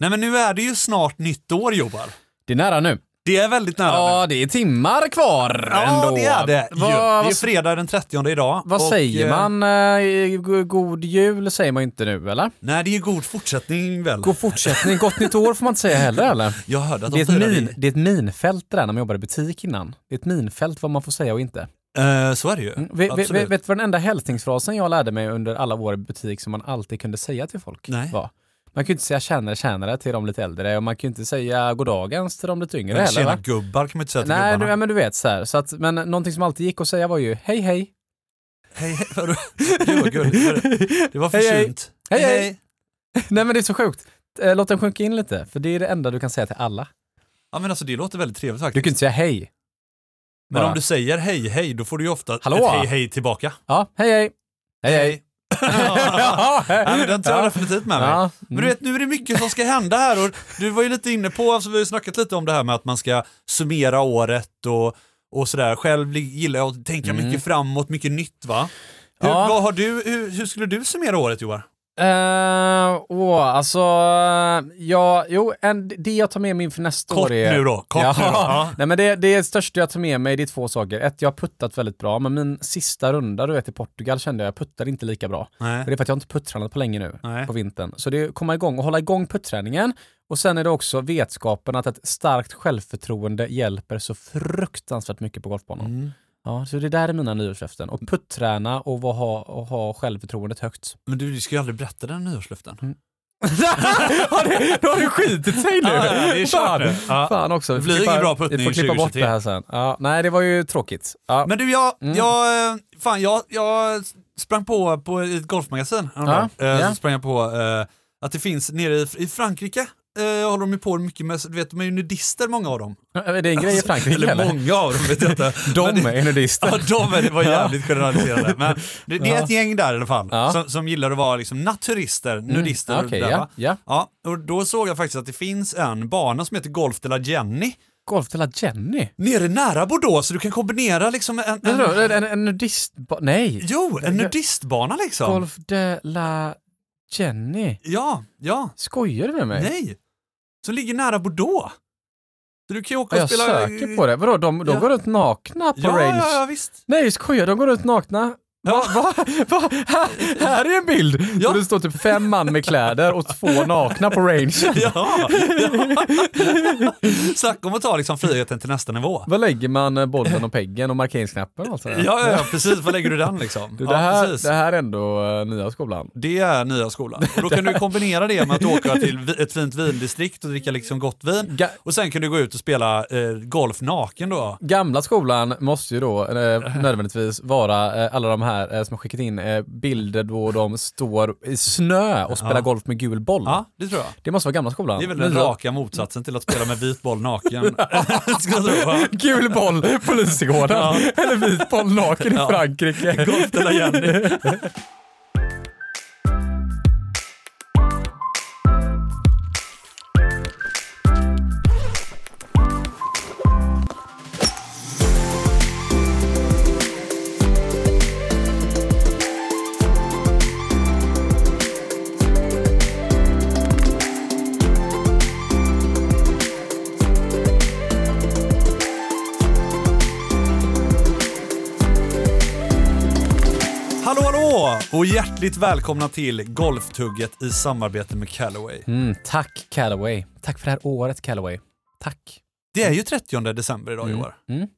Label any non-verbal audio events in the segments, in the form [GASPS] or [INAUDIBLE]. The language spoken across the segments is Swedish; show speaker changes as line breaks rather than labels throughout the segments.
Nej men nu är det ju snart nytt år Jobbar.
Det är nära nu.
Det är väldigt nära nu.
Ja, det är timmar kvar
Ja,
ändå.
det är det. ju.
Vad-
det är
vad-
ju fredag den 30 idag.
Vad
och,
säger
eh,
man? eh, go- God jul säger man inte nu, eller?
Nej, det är ju god fortsättning väl.
God fortsättning, gott nytt år får man inte säga heller, eller?
Jag hörde att
[LAUGHS] Det är,
de
ett
firade
min,
i-
det är ett minfält det där när man jobbade i butik innan. Det är ett minfält vad man får säga och inte.
Eh, så är det ju.
Mm. Vet, vet,
Absolut.
vet du vad den enda hälsningsfrasen jag lärde mig under alla år i butik som man alltid kunde säga till folk
Nej.
var? Man kunde inte säga tjänare, tjänare till de lite äldre och man kunde inte säga goddagens till de lite yngre
Men
heller.
tjena
va?
gubbar kan man inte säga till
Nej, du,
gubbarna.
ja, men du vet så här. Så att, men någonting som alltid gick att säga var ju hej hej.
Hej, hej. Vadå? Gud vad gulligt.
[LAUGHS]
Det var
Hej, hej.
försynt.
Hej, hej. [LAUGHS] Nej men det är så sjukt. Eh, Låt den sjunka in lite, för det är det enda du kan säga till alla.
Ja men alltså det låter väldigt trevligt
Du
faktiskt.
kan inte säga hej.
Men
Bara,
om du säger hej hej då får du ju ofta
Hallå?
ett hej hej tillbaka.
Ja, hej hej. Hej [LAUGHS] hej.
[LAUGHS] Ja, men den tar jag definitivt med mig.
Ja.
Men du vet, nu är det mycket som ska hända här och du var ju lite inne på, alltså vi har ju snackat lite om det här med att man ska summera året och, och sådär. Själv li- gillar jag att tänka
Mm.
mycket framåt, mycket nytt va? Hur,
Ja.
vad har du, hur, hur skulle du summera året Johan?
Eh, åh, alltså, eh, ja, jo, en, det jag tar med mig inför nästa
Kort
år är...
nu då, kort
ja,
nu då. Ja.
Nej, men det, det största jag tar med mig det är två saker. Ett, jag har puttat väldigt bra, men min sista runda du vet, i Portugal kände jag, jag puttade inte lika bra.
Nej.
Och Det är för att jag inte puttränat på länge nu
Nej.
på vintern. Så det är att komma igång och hålla igång putträningen. Och sen är det också vetskapen att ett starkt självförtroende hjälper så fruktansvärt mycket på golfbanan.
Mm.
Ja, så det där är mina nyårslöften. Och putträna och, vara- ha, och ha självförtroendet högt.
Men du, du ska ju aldrig berätta den nyårslöften.
[LAUGHS] har du, då har du skitit sig nu!
Mm. Ja, ja, det är kört [LAUGHS]
Fan.
nu. Ja.
Fan också.
Det blir ingen bra puttning
Vi får klippa bort
2023.
det här sen. Ja, nej, det var ju tråkigt. Ja.
Men du, jag,
Mm.
jag, eh, fan, jag, jag sprang på, på ett golfmagasin häromdagen.
Ja,
Eh,
ja.
Så sprang jag på eh, att det finns nere i, i Frankrike, eh, håller de ju på mycket med, du vet de är ju nudister många av dem.
är det en grej i Frankrike eller?
eller många av dem vet jag
[LAUGHS]
inte. Men
De
det-
är nudister.
[LAUGHS] Ja, de är, det var jävligt generaliserade. Men det, det är ett gäng där i alla fall
Ja.
som, som gillar att vara liksom naturister, nudister.
Mm,
och
Okej,
det där,
ja.
va?
ja.
ja, och då såg jag faktiskt att det finns en bana som heter Golf de la Jenny
Golf till la Jenny?
nere nära Bordeaux, så du kan kombinera liksom en, en,
Vadå, En, en, en nudist... ba- Nej!
Jo, en nudistbana liksom.
Golf de la Jenny.
Ja, ja,
Skojar du med mig?
nej. Som ligger nära Bordeaux. Så du kan ju åka
Ja,
och
jag
spela...
söker på det. Vadå, de, de
Ja.
går runt nakna på
Ja,
range?
ja, ja, visst.
Nej, skojar De går runt nakna? Va, va, va? Här, här är en bild!
Ja.
Och det står typ fem man med kläder och två nakna på range.
[LAUGHS] Ja, ja. Snacka om att ta liksom friheten till nästa nivå.
Var lägger man eh, bollen och peggen och markeringsknappen? Alltså?
Ja, ja, ja precis. Var lägger du den liksom?
Du,
Ja,
det, här,
precis.
det här är ändå eh, nya skolan.
Det är nya skolan. Och då kan du kombinera det med att åka till vi- ett fint vindistrikt och dricka liksom gott vin.
Ga-
Och sen kan du gå ut och spela eh, golf naken då.
Gamla skolan måste ju då eh, nödvändigtvis vara eh, alla de här eh, som har skickat in eh, bilder då de står i snö och spelar
Ja.
golf med gul boll.
Ja, det tror jag.
Det måste vara gamla skolan.
Det är väl den
Nya-
raka motsatsen till att spela med vit boll naken. [LAUGHS] Skulle jag tro. va? [LAUGHS]
Gul boll på Lisebergsgården.
Ja.
Eller vit boll naken i
[LAUGHS] Ja.
Frankrike.
Golf de la Jenny. Hallå hallå! Och hjärtligt välkomna till Golftugget i samarbete med Callaway.
Mm, tack Callaway. Tack för det här året Callaway. Tack.
Det är ju 30 december idag
Mm.
Johan.
Mm.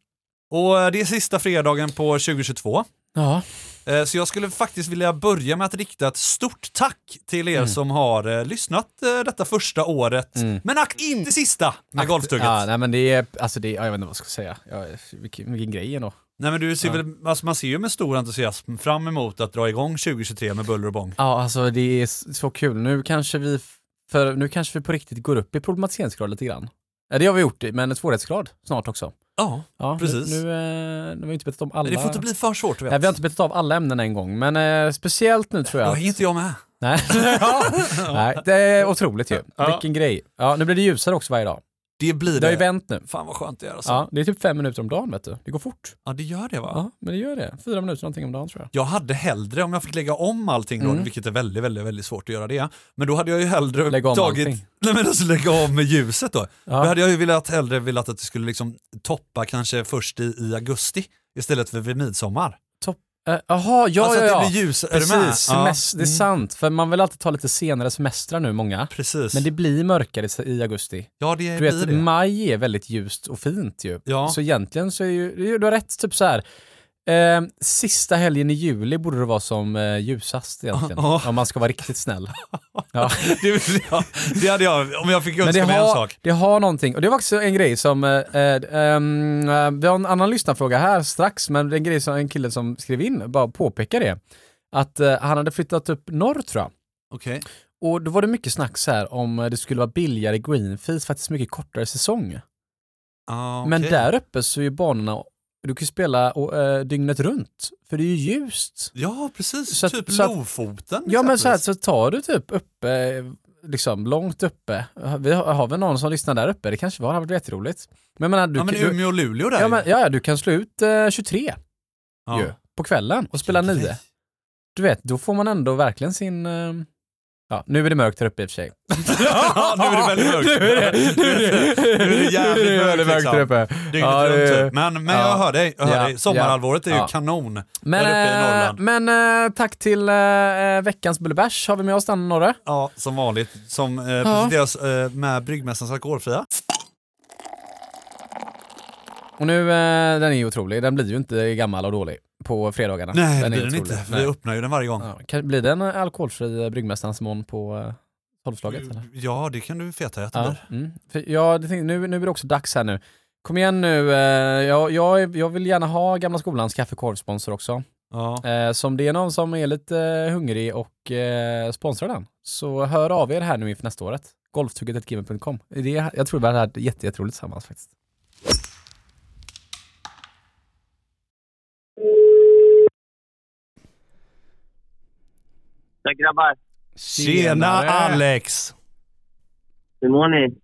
Och eh, det är sista fredagen på 2022.
Ja.
Eh, Så jag skulle faktiskt vilja börja med att rikta ett stort tack till er som har eh, lyssnat eh, detta första året.
Mm.
Men ack, inte sista med Golftugget.
Ja, nej men det är, alltså det, är- ja, jag vet inte vad jag ska säga. Ja, vilken, vilken grej ändå.
Nej men du ser
Ja.
väl, alltså man ser ju med stor entusiasm fram emot att dra igång 2023 med buller och bång.
Ja, alltså det är s- så kul. Nu kanske vi, f- för nu kanske vi på riktigt går upp i problematiseringsgrad lite grann. Ja, det har vi gjort, men en svårighetsgrad snart också.
Ja,
Ja,
Precis.
Nu, nu, eh, nu har vi inte betat om alla.
det får inte bli för svårt vet.
Nej, vi har inte betat av alla ämnen en gång, men eh, speciellt nu tror
Då
jag.
hänger inte jag med.
Nej. [LAUGHS] ja. Nej, det är otroligt ju.
Ja.
Vilken grej. Ja, nu blir det ljusare också varje dag.
Det blir
Det har ju
det.
vänt nu.
Fan vad skönt det är alltså. Ja,
Ja, det är typ fem minuter om dagen vet du. Det går fort.
det gör det va?
Ja, men det gör det. Fyra minuter någonting om dagen tror jag.
Jag hade hellre, om jag fick lägga om allting då,
Mm.
vilket är väldigt, väldigt, väldigt svårt att göra det, men då hade jag ju hellre
Lägg om
tagit,
allting.
Nej men alltså lägga av med ljuset då.
Ja.
Då hade jag ju velat, hellre velat att det skulle liksom toppa kanske först i, i augusti istället för vid midsommar.
Eh, Jaha, ja,
alltså
ja,
att
ja.
det blir ljus, är du med? Mm.
Precis, semest- det är sant. För man vill alltid ta lite senare semestrar nu, många.
Precis.
Men det blir mörkare i- i augusti.
ja det
Du
blir
vet,
det.
maj är väldigt ljust och fint ju.
ja.
Så egentligen så är ju, ju- du har rätt, typ så här. Eh, sista helgen i juli borde det vara som eh, ljusast egentligen.
Ja.
Om man ska vara
[LAUGHS]
riktigt snäll. ja.
[LAUGHS] det, vill jag, det hade jag, om jag fick önska mig en
har,
sak.
det har någonting. Och det var också en grej som, eh, eh, ehm, eh, vi har en annan lyssnarfråga här strax, men det är en grej som en kille som skrev in bara påpekar det. Att eh, han hade flyttat upp norr tror jag.
Okej.
Och då var det mycket snack så här om eh, det skulle vara billigare greenfees för att det är så mycket kortare säsong.
Ah,
Men
okej.
där uppe så är ju banorna, du kan ju spela och, eh, dygnet runt, för det är ju ljust.
Ja precis,
Så att-
typ
så att-
Lofoten
Ja men så här,
exempelvis.
så tar du typ uppe, liksom långt uppe, vi har, har vi någon som lyssnar där uppe, det kanske var, det hade varit jätteroligt. Men jag menar, du,
Ja men
kan- du,
Umeå och Luleå där
ja,
ju.
men, ja, ja, du kan slå ut eh, 23
Ja.
ju, på kvällen och spela 9. Du vet, då får man ändå verkligen sin... eh, Ja, nu är det mörkt här uppe i och för sig.
Ja, [LAUGHS] nu är det väldigt mörkt.
[LAUGHS] Nu är det, nu är det,
Nu är det jävligt
nu är det
mörkt, liksom.
där uppe.
Dygnet
Ja,
runt
det-
typ. Men, men
ja.
jag hör dig, jag hör
Ja,
dig. sommarhalvåret är ju
ja.
kanon.
Men,
Där uppe i
eh,
Norrland.
men eh, tack till eh, veckans Bullebärs har vi med oss den Norre.
Ja, som vanligt. Som eh, presenteras eh, med Bryggmästarens alkoholfria.
Och nu, eh, den är ju otrolig. Den blir ju inte gammal och dålig på fredagarna.
Nej, det
den
blir
är
den
otrolig.
inte. för
Nej.
Vi öppnar ju den varje gång.
Ja, kan, blir den eh, alkoholfri eh, Bryggmästarens mån på eh, tolvslaget? eller?
Ja, det kan du feta att det
Ja,
blir.
mm. För jag, det tänkte- nu, nu är det också dags här nu. Kom igen nu, eh, jag, jag, är- jag vill gärna ha Gamla Skolans kaffekorvsponsor också.
Ja.
Eh, så om det är någon som är lite eh, hungrig och eh, sponsrar den, så hör av er här nu inför nästa året. Golftugget.gmail.com. Det, jag tror det hade varit jätte- jätteroligt tillsammans faktiskt.
Ja, grabbar.
Tjena Alex!
Hur mår ni?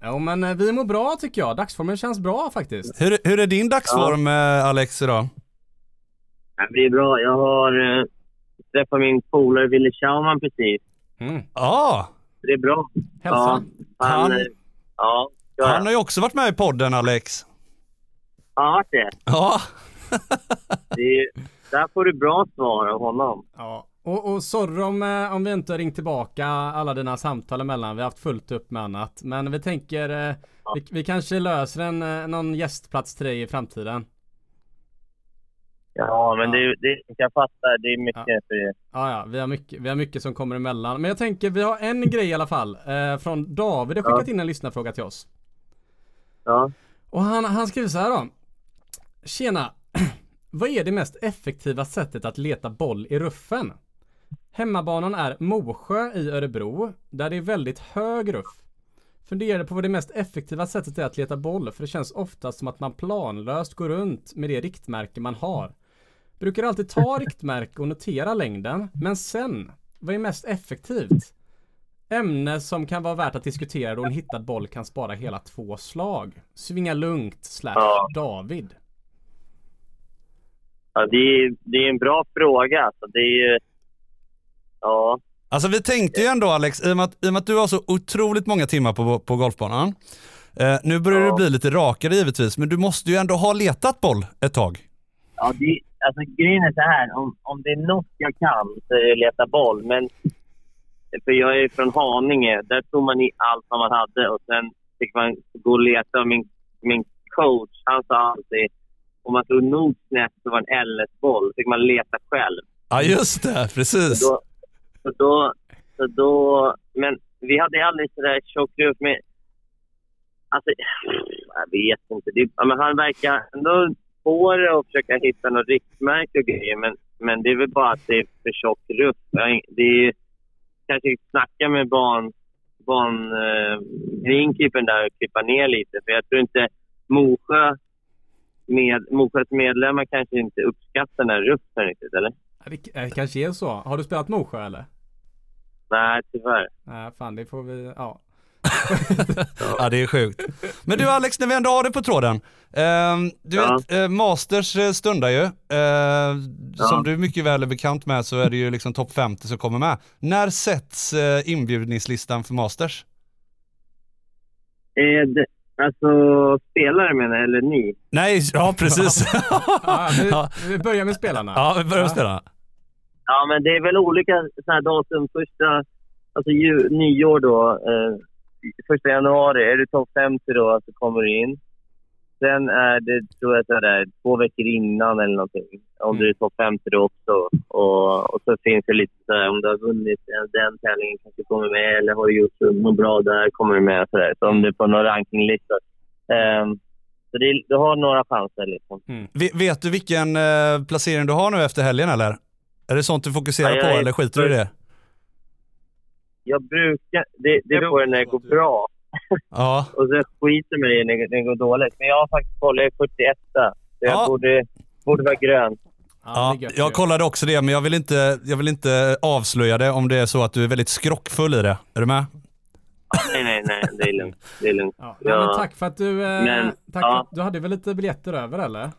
Ja men eh, vi mår bra tycker jag, dagsformen känns bra faktiskt.
Hur, hur är din dagsform eh, Alex idag?
Ja, Det är bra. Jag har eh, träffat min polare Wille Schauman precis.
Ja,
Det är bra.
Hälsa.
Ja, han,
Han-
eh, ja, ja.
han har ju också varit med i podden Alex.
ja det.
Ja.
det är, där får du bra svar av honom.
Ja. Och, och sorry om, eh, om vi inte har ringt tillbaka alla dina samtal emellan. Vi har haft fullt upp med annat. Men vi tänker, eh, vi, vi kanske löser en, eh, någon gästplats till dig i framtiden.
Ja, men
Ja.
Det, det, jag fattar. Det är mycket för det.
Ja, ja, vi har, mycket, vi har mycket som kommer emellan. Men jag tänker, vi har en grej i alla fall. Eh, från David har skickat in en lyssnarfråga till oss.
Ja.
Och han, han skriver så här då. Tjena! [CLEARS THROAT] Vad är det mest effektiva sättet att leta boll i ruffen? Hemmabanan är Mosjö i Örebro, där det är väldigt hög ruff. Funderade på vad det mest effektiva sättet är att leta boll, för det känns oftast som att man planlöst går runt med det riktmärke man har. Brukar alltid ta riktmärke och notera längden, men sen, vad är mest effektivt? Ämne som kan vara värt att diskutera då en hittad boll kan spara hela två slag. Svinga lugnt slash
Ja.
David.
Ja, det, är, det är en bra fråga. Så det är ju... Ja.
Alltså vi tänkte ju ändå Alex, i och med att, i och med att du har så otroligt många timmar på, på golfbanan. Eh, nu börjar
Ja.
du bli lite rakare givetvis, men du måste ju ändå ha letat boll ett tag.
Ja, det, alltså, grejen är så här. Om, om det är något jag kan så är det leta boll. Men, för jag är från Haninge. Där tog man i allt vad man hade och sen fick man gå och leta. Min, min coach han sa alltid om man slog nog snett så var det en LS-boll. fick man leta själv.
Ja just det, precis.
Då, så då, så då, men vi hade aldrig sådär tjock ruff med... Alltså, jag vet inte. Det, ja, men han verkar ändå på det och försöka hitta något riktmärke och grejer. Men, men det är väl bara att det är för tjock ruff. Jag har ing- Det är ju- kanske snacka med barn, barn eh, greenkeepern där och klippa ner lite. För jag tror inte Mosjö med, Mosjös medlemmar kanske inte uppskattar den här ruffen riktigt, eller?
Ja, Det eh, kanske är så. Har du spelat Mosjö eller?
Nej, tyvärr.
Nej, fan det får vi,
[LAUGHS]
ja.
Ja det är sjukt. Men du Alex, när vi ändå har det på tråden. ehm, du
Ja.
vet, eh, Masters eh, stundar ju. Eh,
Ja.
Som du mycket väl är bekant med så är det ju liksom topp 50 som kommer med. När sätts eh, inbjudningslistan för Masters?
Eh, d- alltså, spelare menar jag, eller ni?
Nej, ja
[LAUGHS]
precis.
Ja, ja, vi, vi börjar med spelarna.
ja, vi börjar med spelarna.
Ja, men det är väl olika såna här datum. Första, alltså ju, nyår då, eh, första januari. Är du topp 50 då så kommer du in. Sen är det, tror jag, så där, två veckor innan eller någonting. Om du är topp 50 då också. Och, och så finns det lite så här, om du har vunnit den, den tävlingen kanske kommer med. Eller har du gjort något bra där kommer du med. Så, där. så om du är på någon rankinglista. Ehm, så det, du har några chanser liksom.
Ve- Vet du vilken eh, placering du har nu efter helgen eller? Är det sånt du fokuserar
Ja, jag
på
är-
eller skiter du i det?
Jag brukar... Det, det beror på när det går bra.
Ja.
Och så skiter man i när när det går dåligt. Men jag har faktiskt kollat, jag är 41 så jag
Ja.
borde, borde vara grön.
Ja,
Ja,
det är gött
jag
ju.
kollade också det, men jag vill, inte, jag vill inte avslöja det om det är så att du är väldigt skrockfull i det. Är du med?
Nej, nej, nej, det är lugnt. Det är lugnt.
Ja.
Ja.
Ja, men tack för att du... Eh,
Men,
tack
ja.
för att, du hade väl lite biljetter över
[LAUGHS]
eller?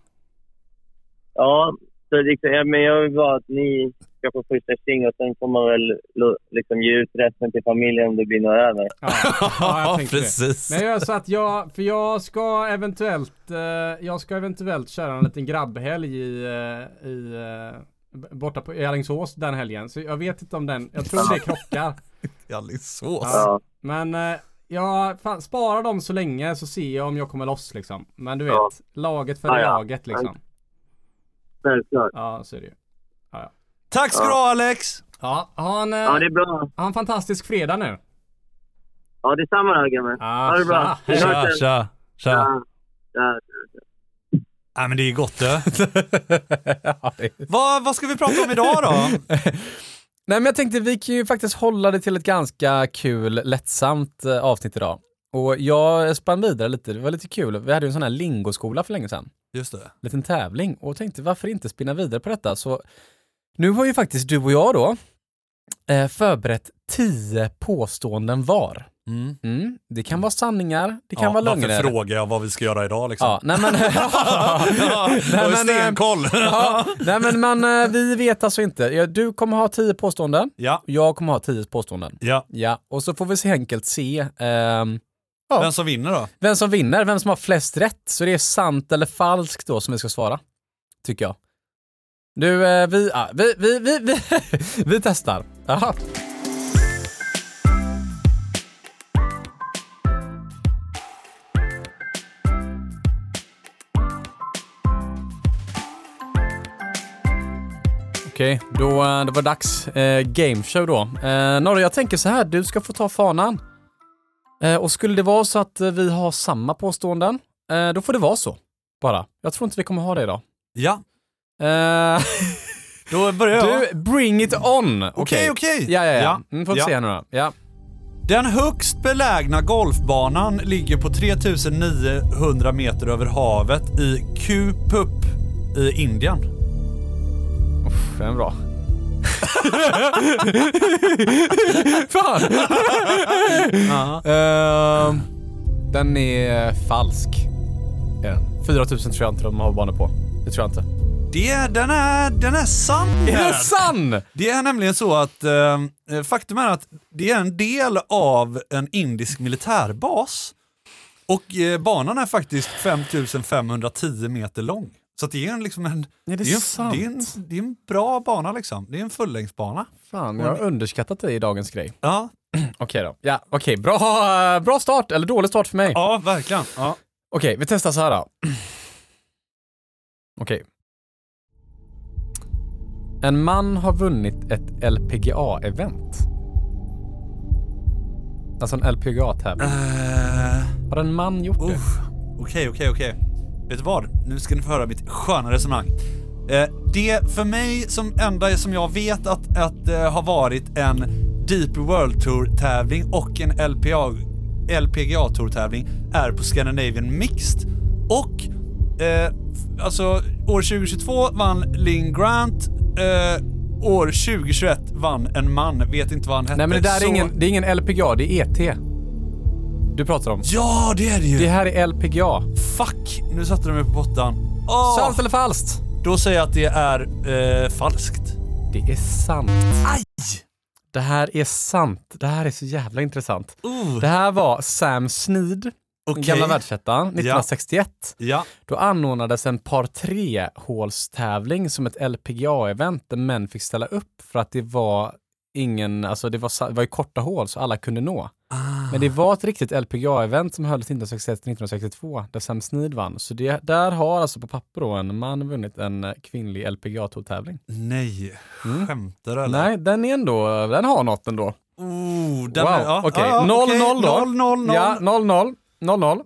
Ja, så liksom, ja, men jag vill bara att ni ska få första sting och sen får man väl lo- liksom ge ut resten till familjen om det blir något över.
Ja,
[LAUGHS]
jag tänkte det.
precis.
Men jag gör så att jag, för jag ska eventuellt, eh, jag ska eventuellt köra en liten grabbhelg i, eh, i eh, b- borta på i Alingsås den helgen. Så jag vet inte om den, jag tror det krockar.
Alingsås.
Ja,
Men eh, jag fan, sparar dem så länge så ser jag om jag kommer loss liksom. Men du vet,
Ja.
laget för
Ja, ja.
laget liksom.
självklart.
Ja, så är det ju.
Tack ska du ha Alex!
Ja, ha en, eh,
Ja, det är bra.
ha en fantastisk fredag nu.
Ja, det är samma här, gumman.
Ah,
Ha det bra. [LAUGHS]
tja.
Vi hörs
Tja, tja,
sen.
tja.
Ja, ja.
Nej men det är gott [LAUGHS] det.
Vad, vad ska vi prata om idag då?
Nej, men jag tänkte vi kan ju faktiskt hålla det till ett ganska kul, lättsamt eh, avsnitt idag. Och jag spann vidare lite, det var lite kul. Vi hade ju en sån här lingoskola för länge sedan,
Just det.
liten tävling, och tänkte varför inte spinna vidare på detta? Så nu har ju faktiskt du och jag då eh, förberett tio påståenden var.
Mm.
Mm. Det kan vara sanningar, det kan
Ja,
vara
varför
lögner.
frågar jag vad vi ska göra idag
[LAUGHS]
liksom?
Ja, nej men,
[LAUGHS] Jag har ju
nej, men, [LAUGHS] eh,
stenkoll.
ja, nej men man, eh, vi vet alltså inte. Ja, Du kommer ha tio påståenden,
ja,
jag kommer ha tio påståenden.
ja.
Ja, och så får vi så enkelt se ehm,
Vem som vinner då?
vem som vinner, vem som har flest rätt. Så det är sant eller falskt då som vi ska svara, tycker jag. Du, eh, vi, ah, vi, vi, vi, [LAUGHS] vi, vi testar. Aha. Okej, då eh, det var dags. Eh, game show då. Eh, Norre, jag tänker så här, du ska få ta fanan. Eh, och skulle det vara så att eh, vi har samma påståenden, eh, då får det vara så. Bara. Jag tror inte vi kommer ha det idag.
Ja,
Eh, [LAUGHS]
då börjar jag.
Du, bring it on!
Okej, okej.
Ja, ja, ja.
Ja.
Mm, får vi
Ja.
se nu då. Ja.
Den högst belägna golfbanan ligger på 3900 meter över havet i Kupup i Indien.
Pff, Den är bra. [LAUGHS] [LAUGHS] Fan! Ehm, den är falsk. Är den. 4000 tror jag inte de har banor på. Det tror jag inte.
Det, den, är, den är sann!
Är den sann?
Det är nämligen så att eh, faktum är att det är en del av en indisk militärbas och eh, banan är faktiskt 5510 meter lång. Så att det är en, liksom en,
Är det
är en,
sant?
det, är en, det är en bra bana liksom. Det är en fullängdsbana.
Fan, jag har underskattat dig i dagens grej.
Ja,
Okej då. Ja, okej. Bra, [LAUGHS] bra start, eller dålig start för mig.
ja verkligen. Ja.
Okej, vi testar så här då. [CLEARS THROAT] Okej. En man har vunnit ett LPGA-event. Alltså en LPGA-tävling.
Eh,
Har en man gjort det?
Uff. Okej, okej, okej. Vet du vad? Nu ska ni få höra mitt sköna resonemang. Eh, det för mig som enda som jag vet att, att eh, har varit en Deep World Tour-tävling och en LPA, LPGA Tour-tävling är på Scandinavian Mixed. Och eh, f- alltså år 2022 vann Lynn Grant. Eh, år 2021 vann en man. Vet inte vad han hette.
Nej men det där är
Så-
ingen, det är ingen LPGA, det är ET. Du pratar om.
Ja, det är det ju!
Det här är LPGA.
Fuck! Nu satte de mig på pottan. Åh!
Sant eller falskt?
Då säger jag att det är eh, falskt.
Det är sant. Aj! Det här är sant. Det här är så jävla intressant.
Uh.
Det här var Sam Sneed
Okej.
gamla världsettan, 1961.
Ja,
Då anordnades en par tre hålstävling som ett LPGA-event där män fick ställa upp för att det var ingen, alltså det var, sa- det var ju korta hål så alla kunde nå.
Ah.
Men det var ett riktigt LPGA-event som hölls 1961-1962 där Sam Snead vann. Så det, där har alltså på papper då en man vunnit en eh, kvinnlig LPGA-tävling.
nej. Skämtar du eller?
Mm. Nej, den är ändå, den har något ändå.
Oh, den
Wow,
är- ja,
okej.
ja,
0-0
okej.
då.
0-0-0.
Ja, 0-0, 0-0.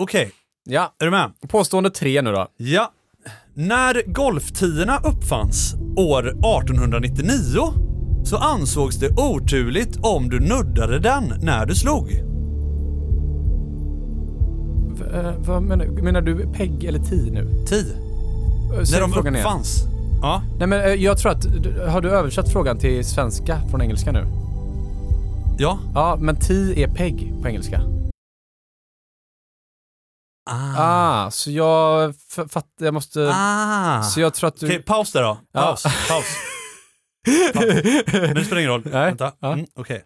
Okej,
Ja,
är du med?
påstående tre nu då.
Ja. När golftierna uppfanns år 1899 så ansågs det oturligt om du nuddade den när du slog.
V- eh, vad menar, menar du PEG eller TI nu?
Ti.
Eh,
När
säg
de
frågan igen.
uppfanns. Ja.
Nej men eh, jag tror att, du- har du översatt frågan till svenska från engelska nu?
Ja.
Ja, men ti är PEG på engelska. Ah, så jag f- fatt, jag måste...
Ah.
Så jag tror att du...
Okej, paus där då.
Ja.
Paus. Paus. Men det spelar ingen [LAUGHS] roll.
Nej.
Vänta.
Ja.
Mm, Okej.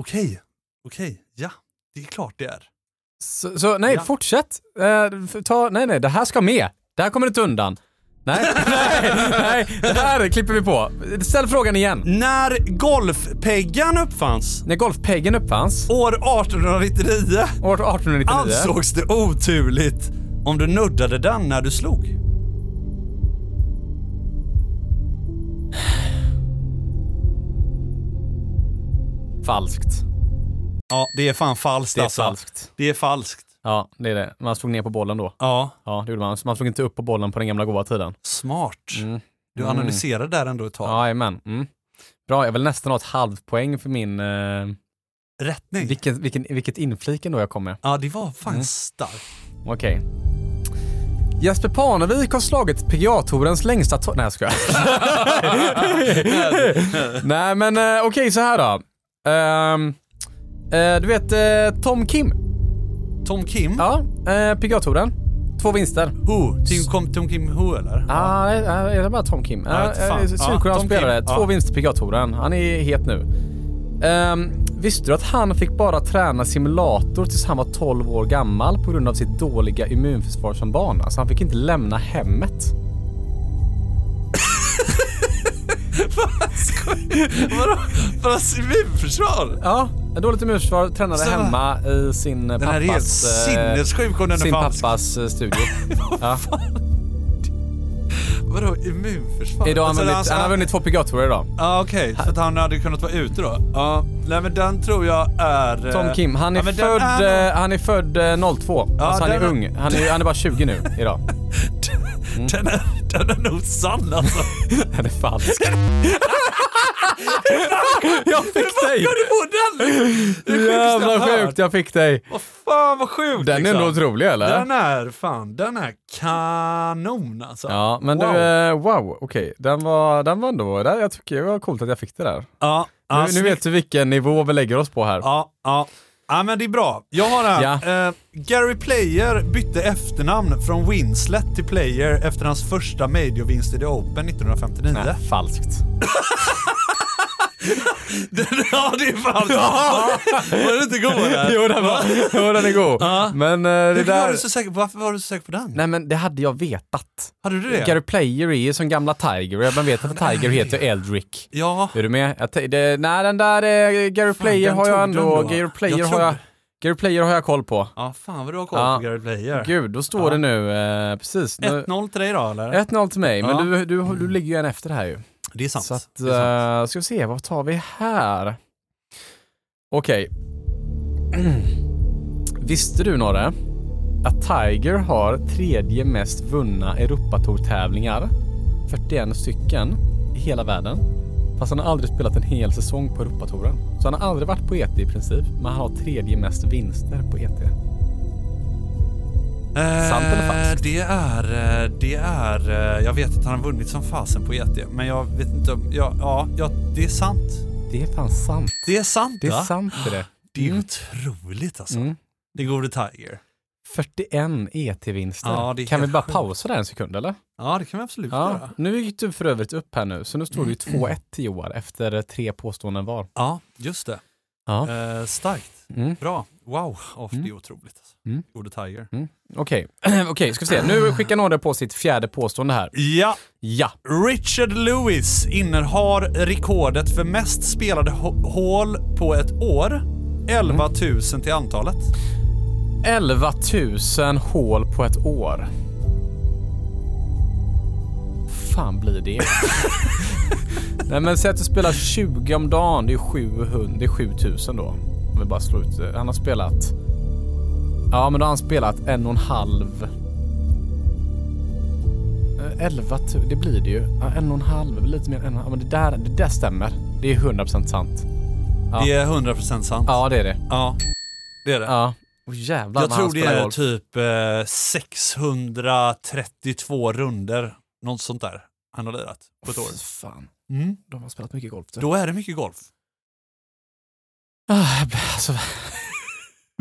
Okej. Okej. Ja. Det är klart det är.
[LAUGHS] så, så nej,
Ja.
fortsätt. Eh, f- ta, nej, nej, det här ska med. Det här kommer du inte undan. Nej, [LAUGHS] nej, nej, det här klipper vi på. Ställ frågan igen.
När golfpeggan uppfanns
När golfpeggen uppfanns,
år 1899
år 1899.
ansågs Alltså. det oturligt om du nuddade den när du slog.
Falskt.
Ja, det är fan falskt
Det är
alltså.
falskt.
Det är falskt.
Ja, det är det. Man slog ner på bollen då.
Ja,
Ja, det gjorde man. Så man slog inte upp på bollen på den gamla goa tiden.
smart. Du analyserade där ändå ett tag.
Ja, Jajamän. Mm. Bra, jag vill nästan ha ett halvt poäng för min... Eh,
Rättning.
vilken, vilken, vilket inflik ändå jag kom med.
Ja, det var fan starkt.
Okej. Jesper Parnevik har slagit PGA-tourens längsta to- Nej, jag skojar. Nej, men eh, okej, så här då. Ehm, eh, du vet eh, Tom Kim?
Tom Kim?
Ja, eh, PGA-touren. Två vinster.
Who? Tim, kom, Tom Kim Who eller?
Ah, nej, nej, är det bara Tom Kim?
jag
Ah,
vet fan.
eh, Sydkoreansk
Ja, Tom
spelare.
Kim.
Två
Ja.
vinster på PGA-touren. Han är het nu. Ehm, visste du att han fick bara träna simulator tills han var 12 år gammal på grund av sitt dåliga immunförsvar som barn? Alltså han fick inte lämna hemmet.
[LAUGHS] Vadå? För hans immunförsvar?
Ja, ett dåligt immunförsvar. Tränade
Så-
hemma i sin
Den här är helt
pappas, eh,
sinnessjuk om den är
sin
falsk.
pappas eh, studio. ja.
Vadå immunförsvar?
[LAUGHS] Idag har han,
Alltså,
vunnit,
alltså,
han har vunnit två PGA-tourer idag.
Ja okej, så att han hade kunnat vara ute då? Ja, nej men den tror jag är... eh,
Tom Kim, han är,
ja, men den
född,
nog-
eh, han är född eh, 02.
Ja,
alltså han är
den-
ung. Han är, han är bara 20 nu idag. mm.
Den är, den är nog sann
[LAUGHS]
alltså.
[LAUGHS] Den är falsk. jag fick dig!
du på den? Det är sjukaste jag
Jävla
har hört.
sjukt, jag fick dig.
Vad fan vad sjukt
Den är
liksom.
ändå otrolig eller?
Den är fan, den är kanon alltså.
Ja, men
Wow.
du, eh, wow, okej. Den var, den var ändå, där, jag tycker det var coolt att jag fick det där.
Ja, ja,
nu, nu
snyggt.
vet du vilken nivå vi lägger oss på här.
Ja, ja. Ja men det är bra. Jag har här. Eh, Gary Player bytte efternamn från Winslet till Player efter hans första majorvinst i The Open 1959.
Nej, falskt.
[LAUGHS] ja det är
[LAUGHS]
falskt. Ja. Var det inte god där?
Jo, den, var, jo, den är god.
Ja.
Men eh, det
Hur var
där...
du så säker, varför var du så säker på den?
Nej men det hade jag vetat.
Hade du det?
Gary Player är ju som gamla Tiger, man vet att Tiger heter Eldrick.
Ja.
Är du med? Jag te- det, nej, den där eh, Gary Player
den
har jag
tog du
ändå...
ändå.
Gary
Jag
Player, har
trodde-
jag, Gary Player har jag koll på.
Ja, fan vad du har koll
Ja.
på Gary Player.
Gud, då står det nu... Eh, precis. nu-
1-0 till dig då eller?
1-0 till mig,
Ja.
men du, du, du ligger ju en efter här ju.
Det är sant.
Så att,
det är sant.
eh, ska vi se, vad tar vi här? Okej. [CLEARS THROAT] Visste du Norre att Tiger har tredje mest vunna Europatour-tävlingar, 41 stycken, i hela världen. Fast han har aldrig spelat en hel säsong på Europatouren. Så han har aldrig varit på ET i princip, men han har tredje mest vinster på E ET.
Eh,
Sant eller falskt?
Det är, eh, det är, eh, jag vet att han har vunnit som fasen på ET, men jag vet inte om, ja, ja, ja det är sant.
Det är fan sant.
Det är sant
Det är
va?
sant är det.
Det är otroligt alltså.
Mm.
Det går The Tiger.
41 ET-vinster.
Ja, det är
E kan vi
helt
bara
sjukt.
pausa där en sekund eller?
Ja, det Mm. kan vi absolut
Ja,
göra.
nu gick du för övrigt upp här nu, så nu står det ju 2-1 till Joar efter tre påståenden var.
Ja, just det. Eh, starkt.
Mm.
Bra. Wow, oh, det är otroligt. Alltså.
Mm.
Gjorde Tiger.
Okej, [CLEARS THROAT] okej, ska vi se. Nu skickar några på sitt fjärde påstående här.
Ja,
Ja.
Richard Lewis innehar rekordet för mest spelade ho- hål på ett år. 11
Mm.
000 till antalet.
11 000 hål på ett år. fan blir
[LAUGHS]
det? Nej men säg att du spelar 20 om dagen, det är 700, det är 7000 då. Om vi bara slår ut det. Han har spelat... Ja men då har han spelat en och en halv... Eh, 11 000, det blir det ju. Ja, en och en halv, lite mer än en och en halv. Men det där, det där stämmer. Det är 100% sant. Ja.
Det är 100% sant. Ja.
Ja det är det.
det är det.
Ja. Oh, jävlar
Jag
vad han
tror det
spelar
är
golf.
typ eh, 632 runder. Något sånt där. Han har lirat på ett år.
Fy fan.
Mm.
De har spelat mycket golf. du.
Då är det mycket golf. [LAUGHS]
Ah, jag blir- alltså,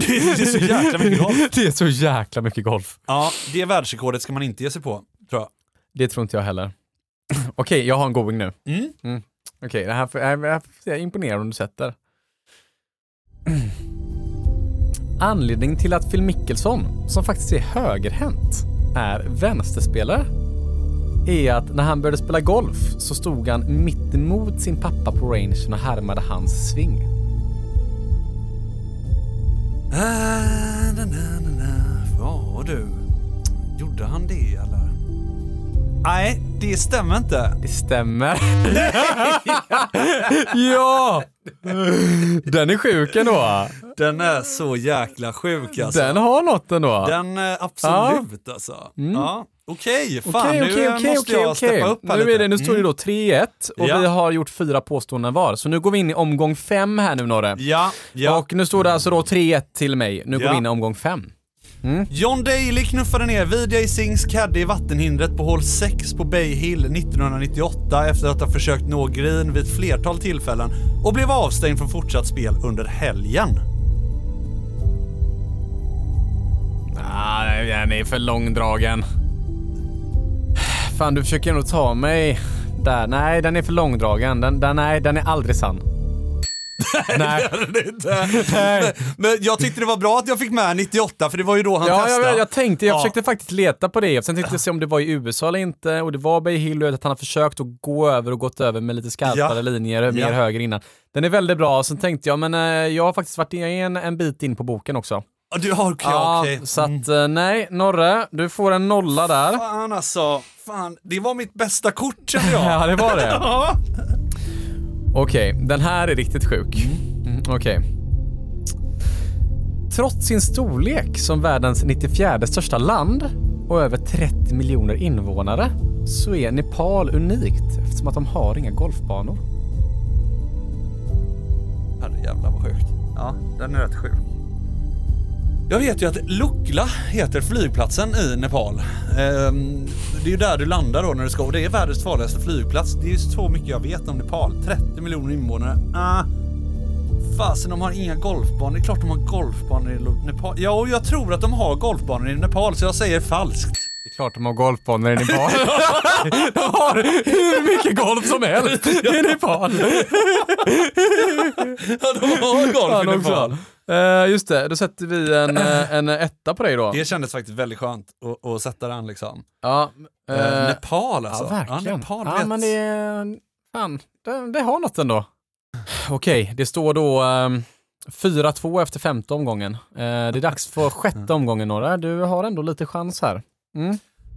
Det är, [LAUGHS] det är så jäkla mycket golf.
[LAUGHS]
[LAUGHS]
det är så jäkla mycket golf.
Ja, det världsrekordet ska man inte ge sig på, tror jag.
Det tror inte jag heller. [CLEARS THROAT] Okej, jag har en going nu.
Mm.
Okej, det här får, jag, jag, jag imponerar om du sätter. [CLEARS THROAT] Anledning till att Phil Mickelson, som faktiskt är högerhänt, är vänsterspelare är att när han började spela golf så stod han mittemot sin pappa på rangen och härmade hans sving.
Ah, na, na, na, na. Ja du, gjorde han det eller? Nej, det stämmer inte.
Det stämmer. [LAUGHS] ja! Den är sjuk ändå.
Den är så jäkla sjuk alltså.
Den har något ändå.
Den eh, absolut alltså. Ja. Okej, fan
Okej,
nu
okej,
eh,
okej,
måste jag
okej,
steppa
okej.
upp här
Nu, är
lite.
det, nu står det
Mm.
då 3-1 och
Ja.
vi har gjort fyra påståenden var. Så nu går vi in i omgång fem här nu Norre.
Mm. Ja, ja.
Och nu står det alltså då 3-1 till mig. Nu går
Ja.
vi in i omgång fem.
John Daly knuffade ner VJ Singhs caddy i vattenhindret på hål 6 på Bay Hill 1998 efter att ha försökt nå green vid ett flertal tillfällen och blev avstängd från fortsatt spel under helgen.
Ah, den är för långdragen. Fan, du försöker ändå ta mig där. Nej, den är för långdragen. Den, den, nej, den är aldrig sann. nej. Nej.
Men jag tyckte det var bra att jag fick med 98 för det var ju då han
Ja, jag,
testade.
vet, jag tänkte, jag
Ja.
försökte faktiskt leta på det. Sen tänkte jag se om det var i USA eller inte. Och det var Bay Hill och jag vet att han har försökt att gå över och gått över med lite skarpare
Ja.
linjer, mer
Ja.
höger innan. Den är väldigt bra. Sen tänkte jag, men eh, jag har faktiskt varit en, en bit in på boken också.
Ja, Du har okej,
Ja,
okej. Mm.
Så att eh, nej, Norre, du får en nolla där.
Fan alltså, fan, det var mitt bästa kort kände jag.
[LAUGHS] Ja, det var det.
Ja.
Okej, den här är riktigt sjuk. Mm, Okej. Trots sin storlek som världens 94 största land och över 30 miljoner invånare så är Nepal unikt eftersom att de har inga golfbanor.
Herrejävlar vad sjukt. Ja, den är rätt sjuk. Jag vet ju att Lukla heter flygplatsen i Nepal. Ehm, det är ju där du landar då när du ska och det är världens farligaste flygplats. Det är ju så mycket jag vet om Nepal. 30 miljoner invånare. Ah. Fasen, de har inga golfbanor. Det är klart de har golfbanor i Lu- Nepal. Ja, och jag tror att de har golfbanor i Nepal så jag säger [LAUGHS] falskt.
Det är klart de har golfbanor i Nepal. [LAUGHS] de har hur mycket golf som helst [LAUGHS] i Nepal.
Ja, de har golf i Nepal.
Uh, just det, då sätter vi en, eh, en etta på dig då.
Det kändes faktiskt väldigt skönt att, att sätta den liksom.
Ja, eh,
Eh, Nepal alltså.
Ja, verkligen.
Ja, Nepal vet.
men det, är- fan, det, det har något ändå. Okej, det står då ehm, 4-2 efter femte omgången. Eh, det är dags för sjätte omgången, Norra. Du har ändå lite chans här.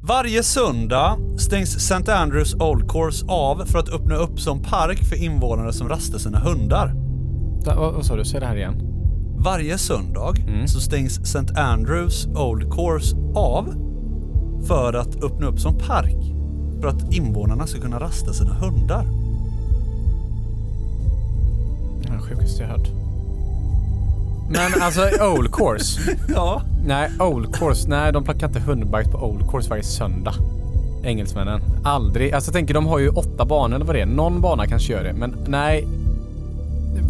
Varje söndag stängs St. Andrews Old Course av för att öppna upp som park för invånare som rastar sina hundar.
Da, vad, vad sa du? Säg det här igen.
Varje söndag
Mm.
så stängs St. Andrews Old Course av för att öppna upp som park för att invånarna ska kunna rasta sina
[LAUGHS]
hundar.
Det är den sjukaste jag hört. Men alltså, Old Course.
Ja.
Nej, Old Course. Nej, de plockar inte hundbajs på Old Course varje söndag. Engelsmännen. Aldrig. Alltså jag tänker, de har ju åtta banor eller vad det är. Någon bana kanske gör det, men nej.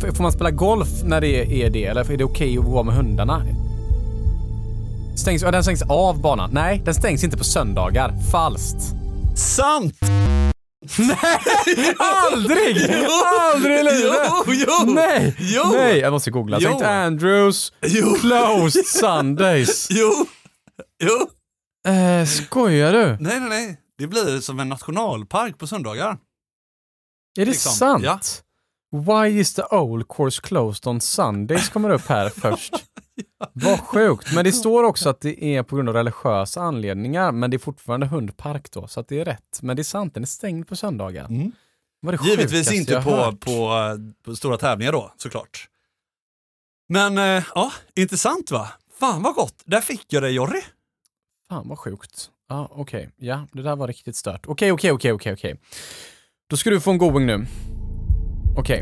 F- Får man spela golf när det är det? Eller är det okej att gå med hundarna? Stängs, ja, den stängs av banan. Nej, den stängs inte på söndagar. Falskt.
Sant!
Aldrig!
[LAUGHS]
Aldrig i livet!
Jo, jo!
Nej!
Jo!
Nej, jag måste googla.
Jo.
St. Andrews
Jo! [LAUGHS]
closed Sundays.
Jo! Jo!
Eh, skojar du?
Nej, nej, nej. Det blir som en nationalpark på söndagar.
Är det
Liksom,
sant?
ja.
Why is the old course closed on Sundays kommer upp
[LAUGHS]
här först. Vad sjukt. Men det står också att det är på grund av religiösa anledningar, men det är fortfarande hundpark då, så att det är rätt. Men det är sant, den är stängd på söndagar.
Mm.
Vad är det
Givetvis
sjukaste
inte
jag
på,
hört?
på, eh, på stora tävlingar då, såklart. Men eh, ja, intressant va? Fan vad gott. Där fick jag dig Jorry.
Fan vad sjukt. Ja, okej. Ja, det där var riktigt stört. Okej, okej, okej, okej, okej. Då ska du få en going nu. Okej.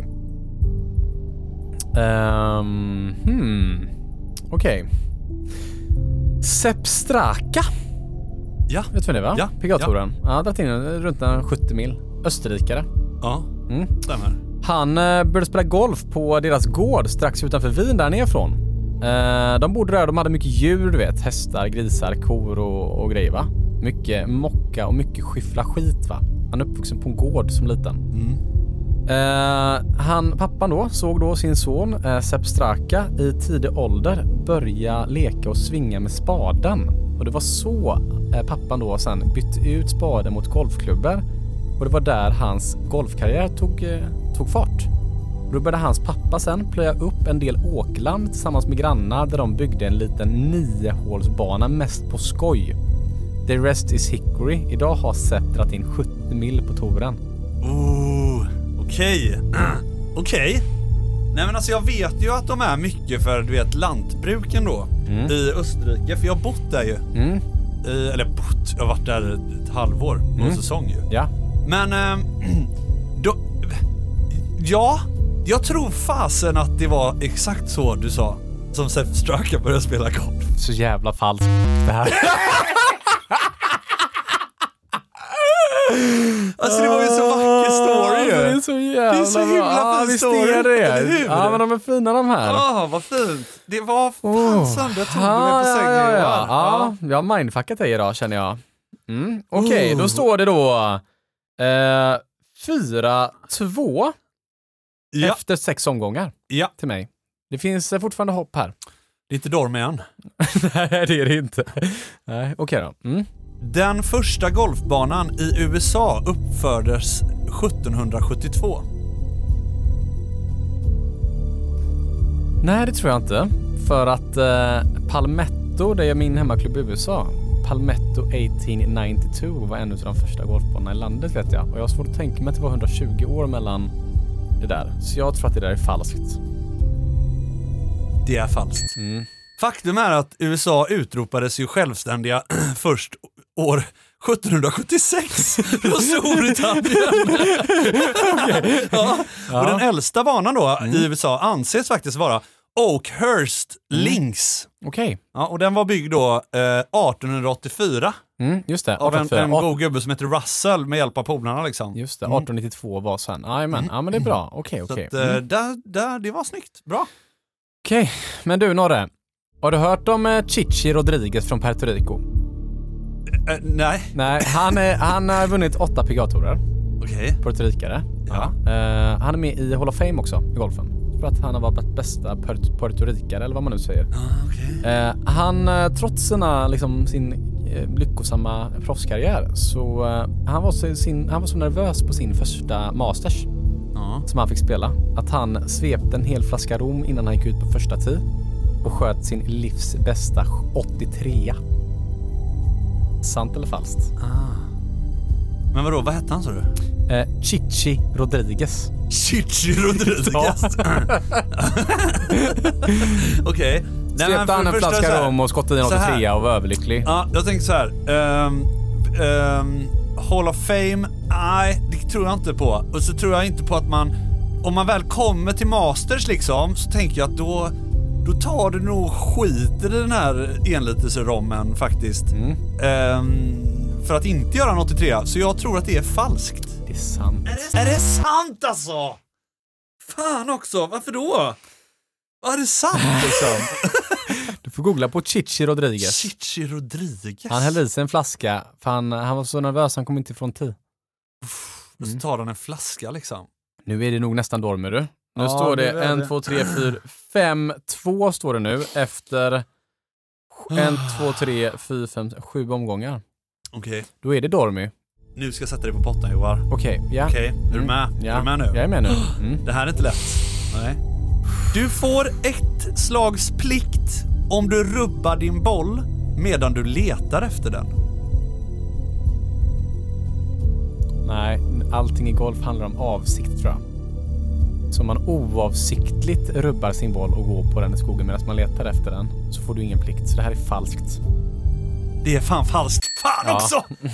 Ehm, hmm. Okej. Sepstraka.
Ja.
Vet du vad det är va?
Ja,
PGA-touren. Ja. har dragit in en- runt en 70 mil. Österrikare.
Ja,
Mm.
stämmer.
Han eh, började spela golf på deras gård strax utanför Wien, där han är från. Eh, de bodde där, de hade mycket djur, du vet. Hästar, grisar, kor och, och grejer va. Mycket mocka och mycket skyffla skit va. Han är uppvuxen på en gård som liten. Eh, han, pappan då såg då sin son eh, Sepp Straka i tidig ålder börja leka och svinga med spaden. Och det var så eh, pappan då sen bytte ut spaden mot golfklubbor. Och det var där hans golfkarriär tog, eh, tog fart. Då började hans pappa sen plöja upp en del åkland tillsammans med grannar där de byggde en liten niohålsbana mest på skoj. The rest is hickory. Idag har Sepp dragit in 70 mil på touren.
Oh, okej. [CLEARS THROAT] okej. Nej men alltså jag vet ju att de är mycket för du vet lantbruken då
Mm.
i Österrike, för jag har bott där ju.
Mm,
I, eller bott, jag har varit där ett halvår, någon
Mm.
säsong ju.
ja.
Men, ehm, [CLEARS THROAT] då, ja, jag tror fasen att det var exakt så du sa som Seth Straka började spela golf.
Så jävla falskt det här.
[LAUGHS] Alltså det var ju så vacker story
Ah, Alltså, Det är
ju.
så
Det
jävla
är så himla fin
bra. Ja, visst
story,
är
eller
det.
hur?
Ja, men de är fina de här.
Ja, Ah, vad fint. Det var
Oh.
fan Sandra tog du mig på
ja,
sängen
ja, ja.
Johan.
ja, jag har mindfuckat dig idag känner jag. Mm. Okej,
Oh.
då står det då eh, 4-2
Ja.
efter sex omgångar
Ja.
till mig. Det finns eh, fortfarande
[LAUGHS]
hopp här.
Det är inte Dorm igen.
Nej, det är det inte. Nej, okej då. Mm.
Den första golfbanan i USA uppfördes 1772.
Nej, det tror jag inte. För att eh, Palmetto, det är min hemmaklubb i USA, Palmetto 1892 var en av de första golfbanorna i landet vet jag. Och jag har svårt att tänka mig att det var 120 år mellan det där. Så jag tror att det där är falskt.
Det är falskt.
Mm.
Faktum är att USA utropades ju självständiga [CLEARS THROAT] först år 1776 [LAUGHS] från Storbritannien. [LAUGHS] ja. Mm. Och den äldsta banan då i USA anses faktiskt vara Oakhurst Links.
Okej,
Ja, och den var byggd då eh, 1884
mm, just det.
av en,
1884.
en
Art-
god gubbe som heter Russell med hjälp av polarna liksom.
Just det, 1892 var sen. Jajamän, ja men det är bra. Okej,
Mm. Så
okej. Mm.
att, eh, där, där, det var snyggt. Bra.
Okej, men du Norre. Har du hört om eh, Chichi Rodriguez från Puerto Rico?
Eh, nej,
Nej, han, är, han har vunnit åtta PGA-tourer.
okej.
Puertorikare.
Ja.
Eh, han är med i Hall of Fame också i golfen. För att han har varit bästa puert- puertorikare eller vad man nu säger. Eh, han, eh, trots sina, liksom, sin eh, lyckosamma proffskarriär, så eh, han, var så sin, han var så nervös på sin första Masters
Ja.
som han fick spela. Att han svepte en hel flaska rom innan han gick ut på första tee och sköt sin livs bästa 83 Sant eller falskt?
Men vadå, vad hette han sa du?
Eh, Chichi Rodriguez.
Chichi Rodriguez. [LAUGHS] Okej. Nej, men
Svepte
för
han
det
en
första så
flaska
här-
rom och skottade in
så här.
83 och var överlycklig.
Ja, jag tänkte så här. ehm, ehm, Hall of Fame? Nej, det tror jag inte på. Och så tror jag inte på att man... Om man väl kommer till Masters liksom, så tänker jag att då... Då tar du nog skit i den här enliterserommen faktiskt.
Mm.
Ehm, för att inte göra en 83 så jag tror att det är falskt.
Det är sant.
Är det sant alltså? Fan också, varför då? Ja, är det sant
[LAUGHS]
liksom?
Du får googla på Chichi Rodriguez.
Chichi Rodriguez.
Han hällde i sig en flaska för han, han var så nervös, han kom inte ifrån tid.
Och så tar han en flaska liksom.
Nu är det nog nästan Dormer du. Nu
Ja,
står
nu
det
är
1,
det.
2, 3, 4, 5, 2 står det nu efter 1,
Ah.
2, 3, 4, 5, 7 omgångar.
Okej,
Då är det Dormy.
nu ska jag sätta dig på potten Joar.
Okej, ja. Mm.
Okej, är du med?
ja.
Är du med nu?
Jag är
[GASPS]
med nu. Mm.
Det här är inte lätt. Nej. Du får ett slags plikt om du rubbar din boll medan du letar efter den.
Nej, allting i golf handlar om avsikt tror jag. Så om man oavsiktligt rubbar sin boll och går på den i skogen medan man letar efter den så får du ingen plikt. Så det här är falskt.
Det är fan falskt. Fan
Ja.
också!
[LAUGHS]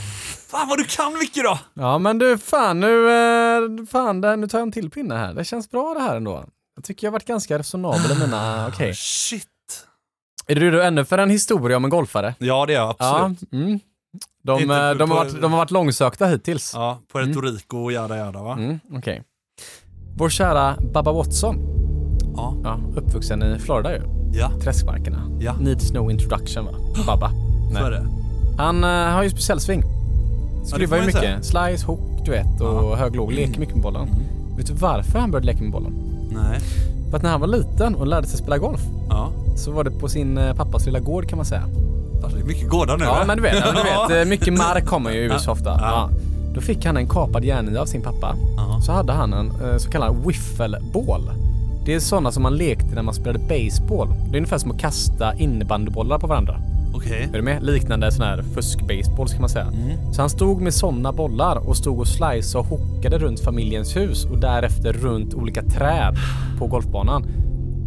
Fan vad du kan mycket då!
Ja, men du fan nu, eh, fan där, nu tar jag en till pinne här. Det känns bra det här ändå. Jag tycker jag har varit ganska resonabel i mina, okej.
Shit.
Är du redo ännu för en historia om en golfare?
Ja det är jag absolut.
Ja. Mm. De,
Inte
eh,
på-
de, har
på-
varit, de har varit långsökta hittills.
Ja, Puerto Rico och jada jada va?
Mm, Okej. Vår kära Baba Watson.
Ja.
Uppvuxen i Florida ju.
Ja.
Träskmarkerna.
Ja.
Needs no
[GASPS]
introduction va? Baba.
Ah. Så är det.
Han eh, har ju speciell sving. Skruvar ju
man ju Mm.
mycket. Slice, hook, du vet och hög låg. Leker mycket med bollen. Vet du varför han började leka med bollen?
Nej.
För att när han var liten och lärde sig spela golf
Ja.
så var det på sin eh, pappas lilla gård kan man säga.
Det är mycket gårdar nu
Ja,
va?
men du vet, ja, men
[LAUGHS]
du
Ja.
vet eh, mycket mark kommer ju i USA ofta. Ja. Då fick han en kapad järnhiva av sin pappa. Så hade han en eh, så kallad wiffleball. Det är sådana som man lekte när man spelade baseball. Det är ungefär som att kasta innebandybollar på varandra.
Okej.
Är du med? Liknande sån här fusk-baseball ska man säga. Så han stod med sådana bollar och stod och slice och hockade runt familjens hus och därefter runt olika träd på golfbanan.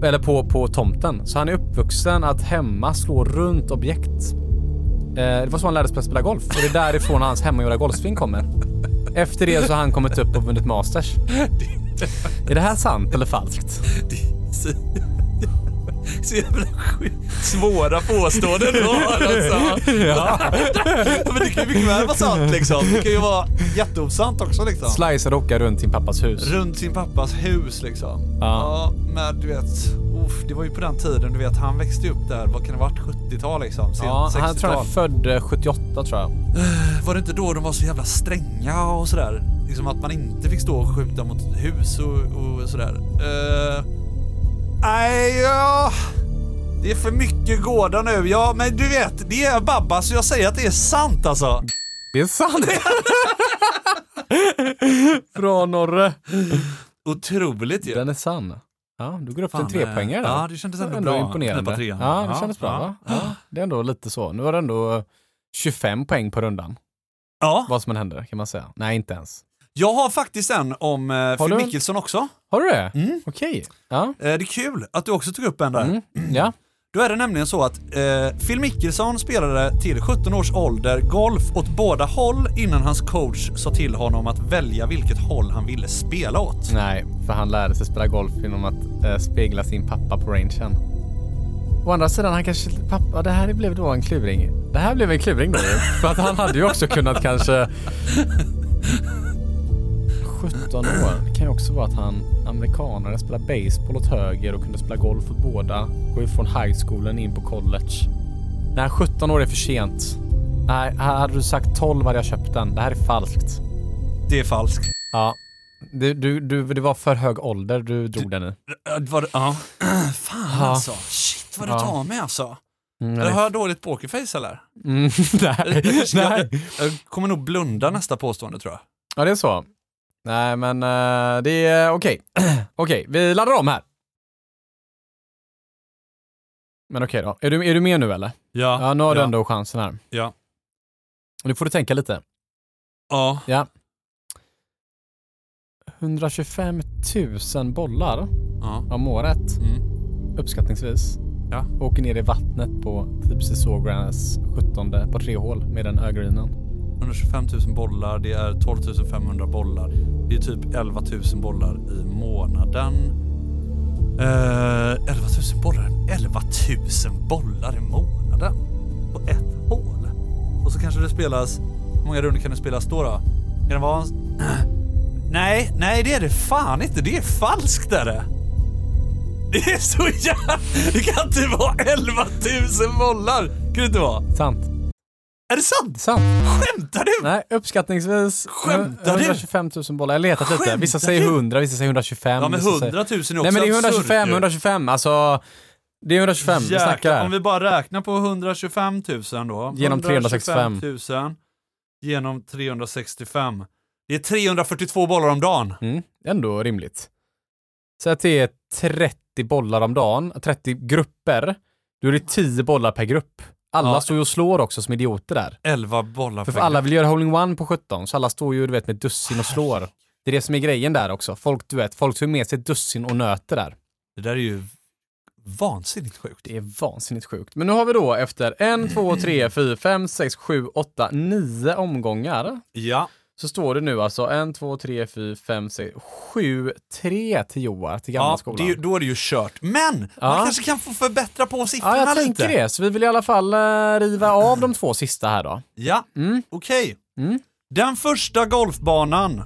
Eller på, på tomten. Så han är uppvuxen att hemma slå runt objekt. Eh, det var så han lärde sig att spela golf och det är därifrån hans hemmagjorda golfsving kommer. Efter det så har han kommit upp och vunnit Masters. Är det här sant eller falskt?
Så, så jävla sjukt svåra påståenden du har
[LAUGHS]
alltså. Ja. Men det kan ju mycket väl vara sant liksom. Det kan ju vara jätteosant också liksom.
Slice och hocka runt sin pappas hus.
Runt sin pappas hus liksom.
Ja.
Ja. men du vet, uff, det var ju på den tiden du vet, han växte upp där, vad kan det ha varit, 70-tal liksom? Sent
Ja, han
60-tal.
tror han är född eh, 78 tror jag.
Var det inte då de var så jävla stränga och sådär? Liksom att man inte fick stå och skjuta mot hus och, och sådär. Eh, Nej, ja. Det är för mycket gårdar nu. Ja, men du vet, det är Babba så jag säger att det är sant alltså.
Det är [LAUGHS] sant! Bra Norre!
Otroligt ju.
Den är sann. Ja, du går upp till en
Fan, eh,
trepoängare där.
ja, det kändes ändå
var
bra. Knipa
imponerande.
trean.
Ja, det
Ja,
kändes bra
ja.
va? Ja, det är ändå lite så. Nu var det ändå eh, 25 poäng på rundan.
Ja,
Vad som än händer kan man säga. Nej, inte ens.
jag har faktiskt en om eh,
du
Finn
en?
Mickelsson också.
Har du det?
Mm.
Okej. Ja.
Eh, det är kul att du också tog upp en där.
Mm. ja.
Då är det nämligen så att eh, Phil Mickelson spelade till 17 års ålder golf åt båda håll innan hans coach sa till honom att välja vilket håll han ville spela åt.
Nej, för han lärde sig spela golf genom att eh, spegla sin pappa på rangen. Å andra sidan, han kanske... Pappa, det här blev då en kluring. Det här blev en kluring då ju. För att han hade ju också kunnat kanske... 17 år. Det kan ju också vara att han, amerikanare, spelar baseball åt höger och kunde spela golf åt båda. Gå ifrån high schoolen in på college. Nej, 17 år är för sent. Nej, hade du sagt 12 hade jag köpt den. Det här är falskt.
Det är falskt.
Ja. Du, du, du, det var för hög ålder du drog den i.
Äh, Vad, ja. [CLEARS THROAT] Fan
Ja.
alltså. Shit vad du
Ja.
tar med alltså.
Mm,
Eller
eller-
har jag dåligt pokerface [LAUGHS] eller?
Mm, [LAUGHS] nej. nej.
Jag, jag kommer nog blunda nästa påstående tror jag.
Ja, det är så. Nej, men eh, det är okej. [CLEARS THROAT] okej, vi laddar om här. Men okej då. Är du, är du med nu eller? Ja, nu har du
ja,
ändå chansen här.
Ja.
Och nu får du tänka lite.
ja.
Ja. 125 000 bollar
ja.
om året,
Mm.
uppskattningsvis,
Ja.
åker ner i vattnet på Tipsy Sawgrass 17 på tre hål med den ögreenen.
125 000 bollar, det är 12 500 bollar. Det är typ 11 000 bollar i månaden. Eh, 11 000 bollar? 11 000 bollar i månaden? På ett hål? Och så kanske det spelas... Hur många runder kan det spelas då? då? Kan det vara en... [CLEARS THROAT] Nej, nej det är det fan inte. Det är falskt är det. Det är så jävla... Det kan inte vara 11 000 bollar! Kan det inte vara?
Sant.
Är det sant?
Sant.
Skämtar du?
Nej, uppskattningsvis
Skämtar du?
125 000 bollar. Jag har letat lite.
Skämtar
Vissa säger
du?
100, vissa säger 125.
Ja men
vissa
100 000
säger-
är också
Nej men det är
absurt
125,
ju.
125. Alltså, det är 125 vi snackar
Jäklar,
här.
om vi bara räknar på 125 000 då.
Genom 365.
125 000 genom 365. Det är 342 bollar om dagen.
Mm, ändå rimligt. Säg att det är 30 bollar om dagen, 30 grupper. Då är det 10 bollar per grupp. Alla
Ja.
står ju och slår också som idioter där.
11 bollar
För,
per
alla
grupp.
vill göra holding one på 17, så alla står ju du vet med dussin och slår. Det är det som är grejen där också. Folk, du vet, folk tar ju med sig dussin och nöter där.
Det där är ju vansinnigt sjukt.
Det är vansinnigt sjukt. Men nu har vi då efter en, två, tre, fyra, fem, sex, sju, åtta, nio omgångar
Ja.
så står det nu alltså en, två, tre, fyra, fem, sex, sju, tre till Joar till gamla
Ja,
skolan.
det är, ju- då är det ju kört. Men
Ja.
man kanske kan få förbättra på siffrorna
Ja, jag
lite.
tänker det. Så vi vill i alla fall eh, riva av de två sista här då.
Ja,
Mm.
okej.
Mm.
Den första golfbanan.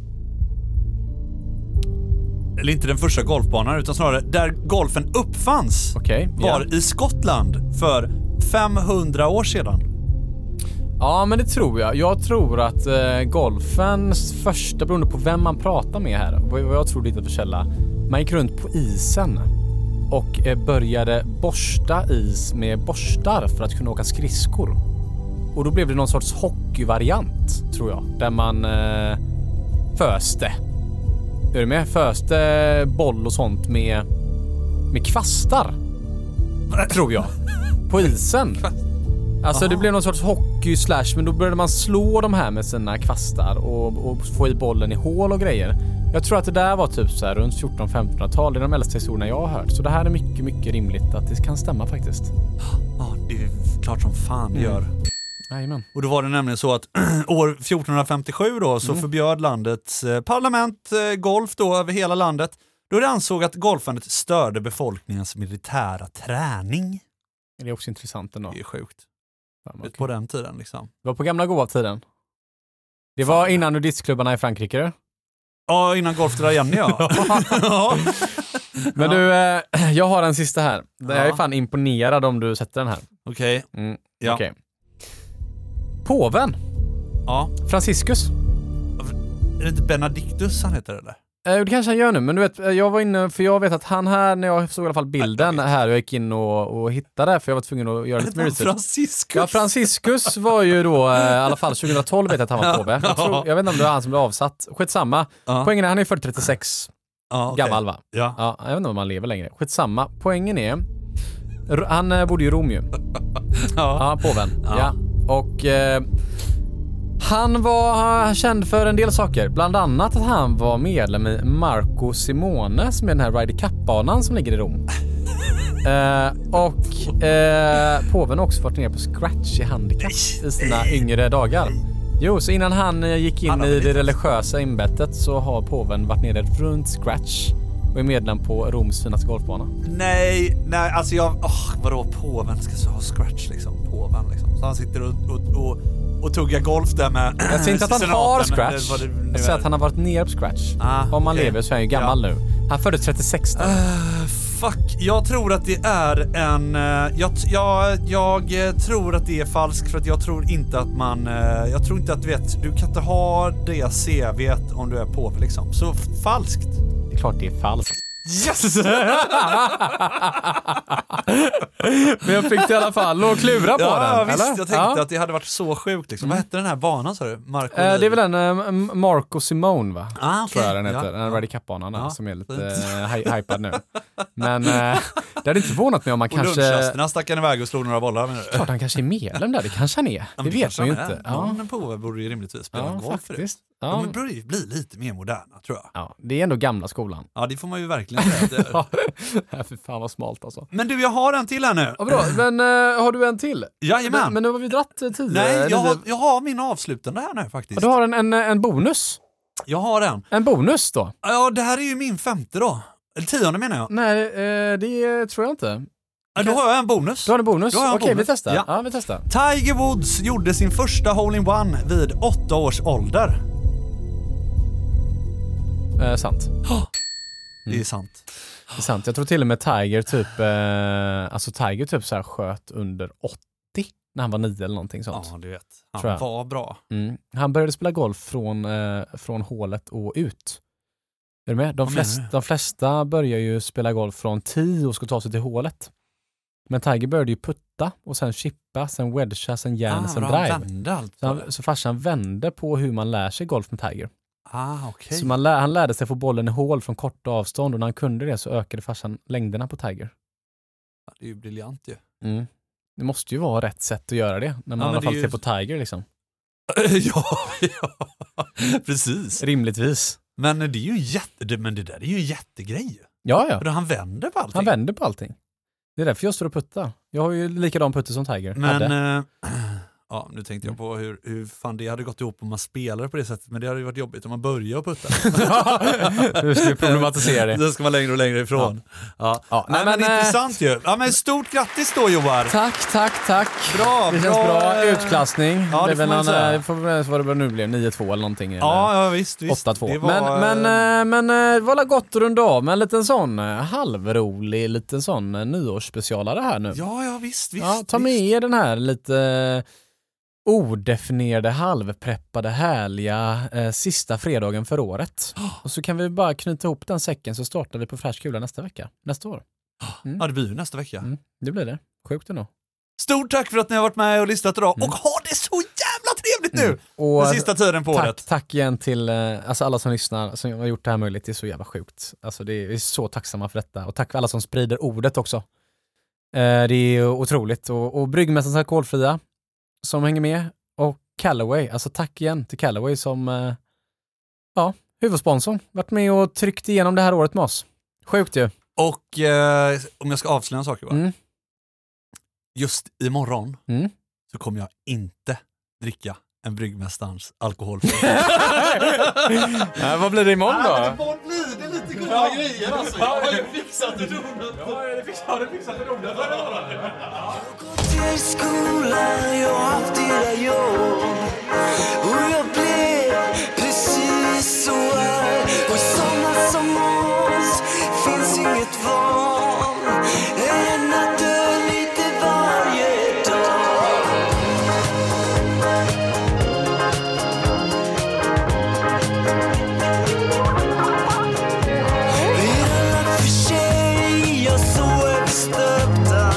Eller inte den första golfbanan, utan snarare där golfen uppfanns
Okej.
var
Ja.
i Skottland för 500 år sedan.
ja, men det tror jag. Jag tror att eh, golfens första, beroende på vem man pratar med här, vad vad jag tror det är för källa, man gick runt på isen och eh, började borsta is med borstar för att kunna åka skridskor. Och då blev det någon sorts hockeyvariant, tror jag, där man eh, föste. Är du med? Föste boll och sånt med, med kvastar. Tror jag. På isen. Alltså det blev någon sorts hockey slash, men då började man slå de här med sina kvastar och, och få i bollen i hål och grejer. Jag tror att det där var typ så här runt 1400-1500-tal. Det är de äldsta historierna jag har hört. Så det här är mycket, mycket rimligt att det kan stämma faktiskt.
Ja, det är klart som fan
Mm.
det gör.
Jajamän.
Och då var det nämligen så att [CLEARS THROAT] år 1457 då
Mm.
så förbjöd landets eh, parlament eh, golf då över hela landet då det ansåg att golfandet störde befolkningens militära träning.
Det är också intressant ändå.
Det är sjukt.
Fan, vad
Ut
kul.
på den tiden liksom.
Det var på gamla goa tiden. Det var innan nudistklubbarna i Frankrike du.
Ja, innan golf drar igen [LAUGHS] ja. ja.
Men du, eh, [CLEARS THROAT] jag har en sista här. Jag är
Ja.
fan imponerad om du sätter den här.
Okej,
Mm.
Ja.
Okej. Påven,
ja.
Franciscus.
Är det inte Benedictus han heter eller?
Eh, Det kanske han gör nu, men du vet, eh, jag var inne, för jag vet att han här, när jag såg i alla fall bilden här, jag gick in och, och hittade, för jag var tvungen att
[LAUGHS]
göra lite mer research.
Franciscus?
Ja, Franciscus var ju då, eh, i alla fall 2012 vet jag att han var påve. Jag, tror, jag vet inte om det var han som blev avsatt. Skitsamma.
Ja.
Poängen är, han är född 36,
ja, okej.
gammal va?
Ja.
Ja, jag vet inte om han lever längre. Skitsamma. Poängen är, r- han eh, bodde ju i Rom ju. Ja, påven. Ja. Och eh, han var eh, känd för en del saker. Bland annat att han var medlem i Marco Simone som är den här Ryder Cup-banan som ligger i Rom. eh, och eh, påven har också varit nere på scratch i handikapp i sina yngre dagar. Jo, så innan han eh, gick in
Han har
i det
blivit-
religiösa ämbetet så har påven varit nere runt scratch och är medlem på Roms finaste golfbana.
Nej, nej, alltså jag... Oh, vadå, påven ska så ha scratch liksom? Påven liksom. Så han sitter och, och, och, och tuggar golf där med
Jag säger inte att han
senaten,
har
eller
scratch.
vad det nu
jag säger
är.
att han har varit nere på scratch.
Ah,
Om man
okej.
lever så är han ju gammal nu. Han föddes 36 då.
Eh, Fuck, jag tror att det är en... eh, Jag, t- jag, jag eh, tror att det är falskt för att jag tror inte att man... eh, Jag tror inte att, vet, du kan inte ha det CVt om du är påve liksom. Så f- falskt.
Det är klart det är falskt.
Yes! [LAUGHS]
Men jag fick det i alla fall och klura på
Ja,
den.
visst.
eller? Mm.
Jag tänkte att det hade varit så sjukt liksom. Vad hette den här banan sa du? Marco
Eh, Det är
Livi?
väl den eh, Marco Simone va?
Ah,
Tror jag
okej.
den heter.
Ja,
Den Ryder Cup-banan där
Ja,
som är lite
fint.
eh, hy- hypad nu. Men eh, det hade inte förvånat mig om man
På
kanske...
lunchrasterna stack han iväg och slog några bollar menar du?
Klart han kanske är medlem där, det kanske han är. Det
Men
vet
kanske
man ju
han är.
inte. Ja,
Någon påve borde ju rimligtvis spela
ja
golf för det.
faktiskt. Ja.
De borde ju bli lite mer moderna tror jag.
Ja, det är ändå gamla skolan.
Ja, det får man ju verkligen säga. att det är.
Ja, [LAUGHS] fy fan vad smalt alltså.
Men du, jag har en till här nu.
Ja, [CLEARS THROAT] bra, men eh, har du en till?
Jajamän.
Men, men nu har vi dratt eh, tio.
Nej, jag har,
nio-
jag har min avslutande här nu faktiskt.
Du har en, en, en bonus.
Jag har en.
En bonus då?
Ja, det här är ju min femte då. Eller tionde menar jag.
Nej, eh, det tror jag inte.
Ja, Då har jag en bonus.
Du har en bonus?
Då har jag en
Okej, vi
bonus.
testar. Ja.
Ja.
vi testar.
Tiger Woods gjorde sin första hole-in-one vid åtta års ålder.
Eh, sant. Mm.
Det är sant.
Det är sant. Jag tror till och med Tiger typ, eh, alltså Tiger typ så här sköt under 80 när han var nio eller någonting sånt.
Ja, du vet.
Tror jag.
Han var bra.
Mm. Han började spela golf från, eh, från hålet och ut. Är du med? De,
Vad
flest,
menar
de flesta börjar ju spela golf från 10 och ska ta sig till hålet. Men Tiger började ju putta och sen chippa, sen wedga, sen järn, sen
vad Ah, han
drive.
vände allt
Så,
på
han,
det.
så farsan vände på hur man lär sig golf med Tiger.
Ah, okej.
Så man lä, han lärde sig få bollen i hål från korta avstånd och när han kunde det så ökade farsan längderna på Tiger.
Det är ju briljant ju. [LAUGHS]
Mm. Det måste ju vara rätt sätt att göra det, när
men
man i alla
det
fall
är ju-
ser på Tiger liksom.
ja, ja. Precis.
Rimligtvis.
Men det är ju en jätte, det- men det där är ju en jättegrej ju.
Ja, ja.
För då Han vänder på allting.
Han vänder på allting. Det är därför jag står och puttar. Jag har ju likadan putte som Tiger.
Men,
hade.
eh, [CLEARS THROAT] ja nu tänkte jag på hur, hur fan det hade gått ihop om man spelade på det sättet, men det hade ju varit jobbigt om man börjar putta.
[LAUGHS] Du ska ju problematisera det.
Då ska man längre och längre ifrån. Ja.
Ja,
Nej,
nej,
men,
men, eh,
intressant ju. Ja, men stort grattis då Johar.
Tack, tack, tack.
Bra,
Det känns bra.
eh,
Utklassning.
det
blev
får man
en,
ju säga.
eh, får väl- vad det nu blev, 9-2 eller någonting. eller
Ja, ja visst. visst.
8-2.
Det
men,
var, eh,
men, eh, men eh, det var väl gott att runda av med en liten sån eh, halvrolig liten sån eh, nyårsspecialare här nu.
Ja, ja visst, visst.
Ja, ta
visst.
med er den här lite eh, odefinierade, halvpreppade, härliga eh, sista fredagen
[GASPS]
för året. Och så kan vi bara knyta ihop den säcken så startar vi på färsk kula nästa vecka, nästa år.
Ja, det blir ju nästa vecka.
Mm, det blir det. Sjukt ändå.
Stort tack för att ni har varit med och lyssnat idag
Mm.
och ha det så jävla trevligt nu!
Och
Den sista tiden på
Mm. tack,
året.
tack igen till eh, alltså alla som lyssnar, som har gjort det här möjligt. Det är så jävla sjukt. Alltså det är, vi är så tacksamma för detta. Och tack för alla som sprider ordet också. Eh, det är otroligt. Och, och Bryggmästarens Alkoholfria som hänger med. Och Callaway, alltså tack igen till Callaway som eh, ja, huvudsponsorn. Varit med och tryckt igenom det här året med oss. Sjukt ju.
Och eh, om jag ska avslöja en sak Johan.
Mm.
Just imorgon
Mm.
så kommer jag inte dricka en bryggmästarens alkohol. då?
Eh, vad blir det imorgon då?
blir det lite goda grejer alltså. Jag har ju fixat och donat. Jag har fixat och donat.
till skolan, jag har haft era jobb Och jag blev precis så här Och såna som oss finns inget val Än att dö lite varje dag Hela för sig, jag så är vi stöpta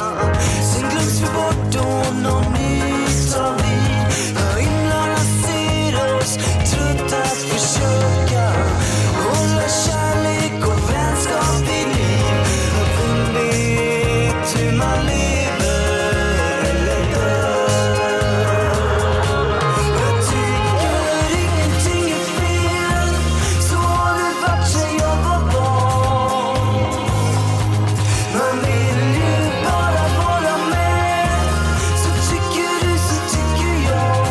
Sen glöms vi bort och någon ny tar vid Himlarna ser oss, trött att försöka Hålla kärlek och vänskap vid liv Vem vet hur man lever eller dör jag tycker ingenting är fel, så har det varit sen jag var barn. Man vill ju bara vara med, så tycker du så tycker jag.